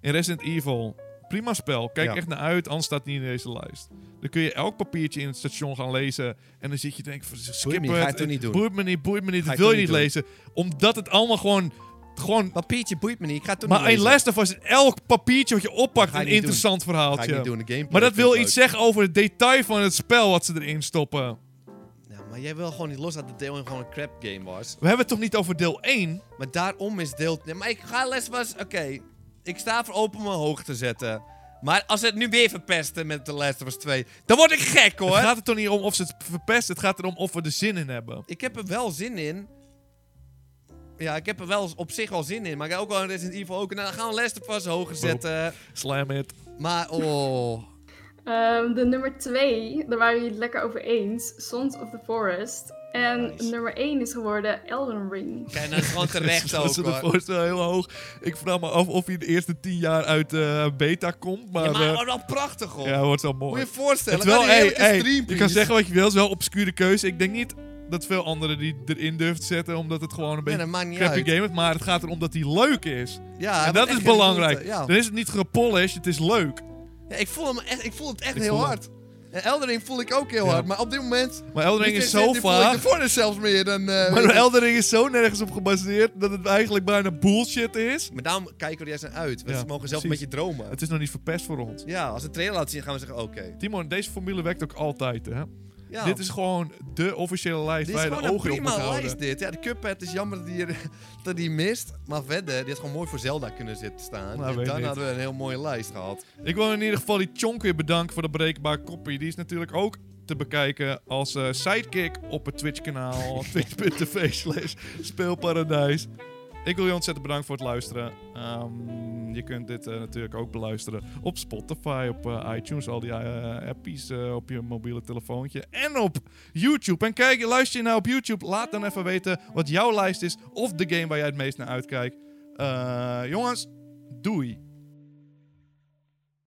Speaker 1: In Resident Evil, prima spel. Kijk
Speaker 2: Ja.
Speaker 1: echt naar uit, anders staat het niet in deze lijst. Dan kun je elk papiertje in het station gaan lezen. En dan zit je denk van, skip
Speaker 2: me niet, ga je
Speaker 1: het,
Speaker 2: toch niet doen.
Speaker 1: Boeit me niet, boeit me niet,
Speaker 2: Ga
Speaker 1: dat
Speaker 2: je
Speaker 1: wil
Speaker 2: toch
Speaker 1: je niet
Speaker 2: niet
Speaker 1: lezen. Omdat het allemaal gewoon... gewoon
Speaker 2: Papiertje boeit me niet, ik ga het toch
Speaker 1: maar
Speaker 2: niet
Speaker 1: in
Speaker 2: lezen.
Speaker 1: Last of Us, elk papiertje wat je oppakt,
Speaker 2: Ga ik
Speaker 1: een
Speaker 2: niet
Speaker 1: interessant
Speaker 2: Ga ik niet
Speaker 1: verhaaltje.
Speaker 2: doen, de gameplay.
Speaker 1: Maar dat
Speaker 2: vind
Speaker 1: wil
Speaker 2: ik
Speaker 1: iets
Speaker 2: leuk.
Speaker 1: zeggen over het detail van het spel wat ze erin stoppen.
Speaker 2: Nou, maar jij wil gewoon niet los dat de deel 1 gewoon een crap game was.
Speaker 1: We hebben het toch niet over deel 1?
Speaker 2: Maar daarom is deel... Nee, maar ik ga les was... Oké, ik sta voor open om me hoog te zetten. Maar als ze het nu weer verpesten met The Last of Us 2, dan word ik gek hoor.
Speaker 1: Het gaat er toch niet om of ze het verpesten, het gaat erom of we er zin in hebben.
Speaker 2: Ik heb er wel zin in. Ja, ik heb er wel op zich wel zin in. Maar ik heb ook wel een Resident Evil ook. Nou, dan gaan we Last of Us hoger zetten.
Speaker 1: Slam it.
Speaker 2: Maar oh...
Speaker 3: Ehm, de nummer 2, daar waren jullie het lekker over eens, Sons of the Forest. En
Speaker 2: Nice.
Speaker 3: nummer 1 is geworden Elden Ring.
Speaker 2: Kijk, nou, dat is gewoon terecht ook
Speaker 1: Dat is de
Speaker 2: hoor.
Speaker 1: voorstel heel hoog. Ik vraag me af of hij de eerste tien jaar uit eh, beta komt. Maar,
Speaker 2: Ja,
Speaker 1: ja,
Speaker 2: maar maar wel prachtig hoor.
Speaker 1: ja, wordt wel
Speaker 2: Moet
Speaker 1: mooi.
Speaker 2: je je voorstellen.
Speaker 1: Het wel,
Speaker 2: wat een
Speaker 1: hey,
Speaker 2: heerlijke
Speaker 1: hey,
Speaker 2: stream,
Speaker 1: je kan
Speaker 2: please.
Speaker 1: zeggen wat je wil, het is wel een obscure keuze. Ik denk niet dat veel anderen die erin durft zetten, omdat het gewoon een
Speaker 2: Nee,
Speaker 1: beetje
Speaker 2: dat maakt niet
Speaker 1: een crappy
Speaker 2: uit.
Speaker 1: game is. Maar het gaat erom dat hij leuk is.
Speaker 2: Ja,
Speaker 1: en
Speaker 2: wat
Speaker 1: dat
Speaker 2: echt
Speaker 1: is
Speaker 2: geen
Speaker 1: belangrijk.
Speaker 2: moeite, Ja.
Speaker 1: Dan is het niet gepolished, het is leuk.
Speaker 2: Ja, ik, voel hem echt, ik voel het echt
Speaker 1: Ik
Speaker 2: heel
Speaker 1: voel hem.
Speaker 2: hard. En Eldering voel ik ook heel
Speaker 1: Ja.
Speaker 2: hard, maar op dit moment...
Speaker 1: Maar Eldering
Speaker 2: dit
Speaker 1: is zo
Speaker 2: dit voel ik de
Speaker 1: vaag.
Speaker 2: voordeel zelfs meer dan... eh,
Speaker 1: Maar
Speaker 2: weet ik.
Speaker 1: Eldering is zo nergens op gebaseerd dat het eigenlijk bijna bullshit is.
Speaker 2: Maar daarom kijken we er juist naar uit. want
Speaker 1: Ja,
Speaker 2: ze mogen zelf
Speaker 1: precies.
Speaker 2: een beetje dromen.
Speaker 1: Het is nog niet verpest voor ons.
Speaker 2: Ja, als de trailer laat zien, gaan we zeggen, oké.
Speaker 1: Timon, deze formule werkt ook altijd, hè?
Speaker 2: Ja.
Speaker 1: Dit is gewoon de officiële lijst
Speaker 2: Dit is
Speaker 1: waar je
Speaker 2: gewoon
Speaker 1: de
Speaker 2: een
Speaker 1: ogen op moet
Speaker 2: prima
Speaker 1: houden.
Speaker 2: lijst dit. Ja, de Cuphead het is jammer dat die, er- dat die mist. Maar verder, dit had gewoon mooi voor Zelda kunnen zitten staan.
Speaker 1: Nou,
Speaker 2: en
Speaker 1: weet
Speaker 2: dan
Speaker 1: niet.
Speaker 2: hadden we een heel mooie lijst gehad.
Speaker 1: Ik wil in ieder geval die Chonk weer bedanken voor de breekbare koppie. Die is natuurlijk ook te bekijken als eh, sidekick op het Twitch-kanaal. twitch.tv slash speelparadijs. Ik wil je ontzettend bedanken voor het luisteren. Ehm, je kunt dit eh, natuurlijk ook beluisteren op Spotify, op eh, iTunes, al die eh, appies eh, op je mobiele telefoontje. En op YouTube. En kijk, luister je nou op YouTube, laat dan even weten wat jouw lijst is. Of de game waar jij het meest naar uitkijkt. Eh, jongens, doei.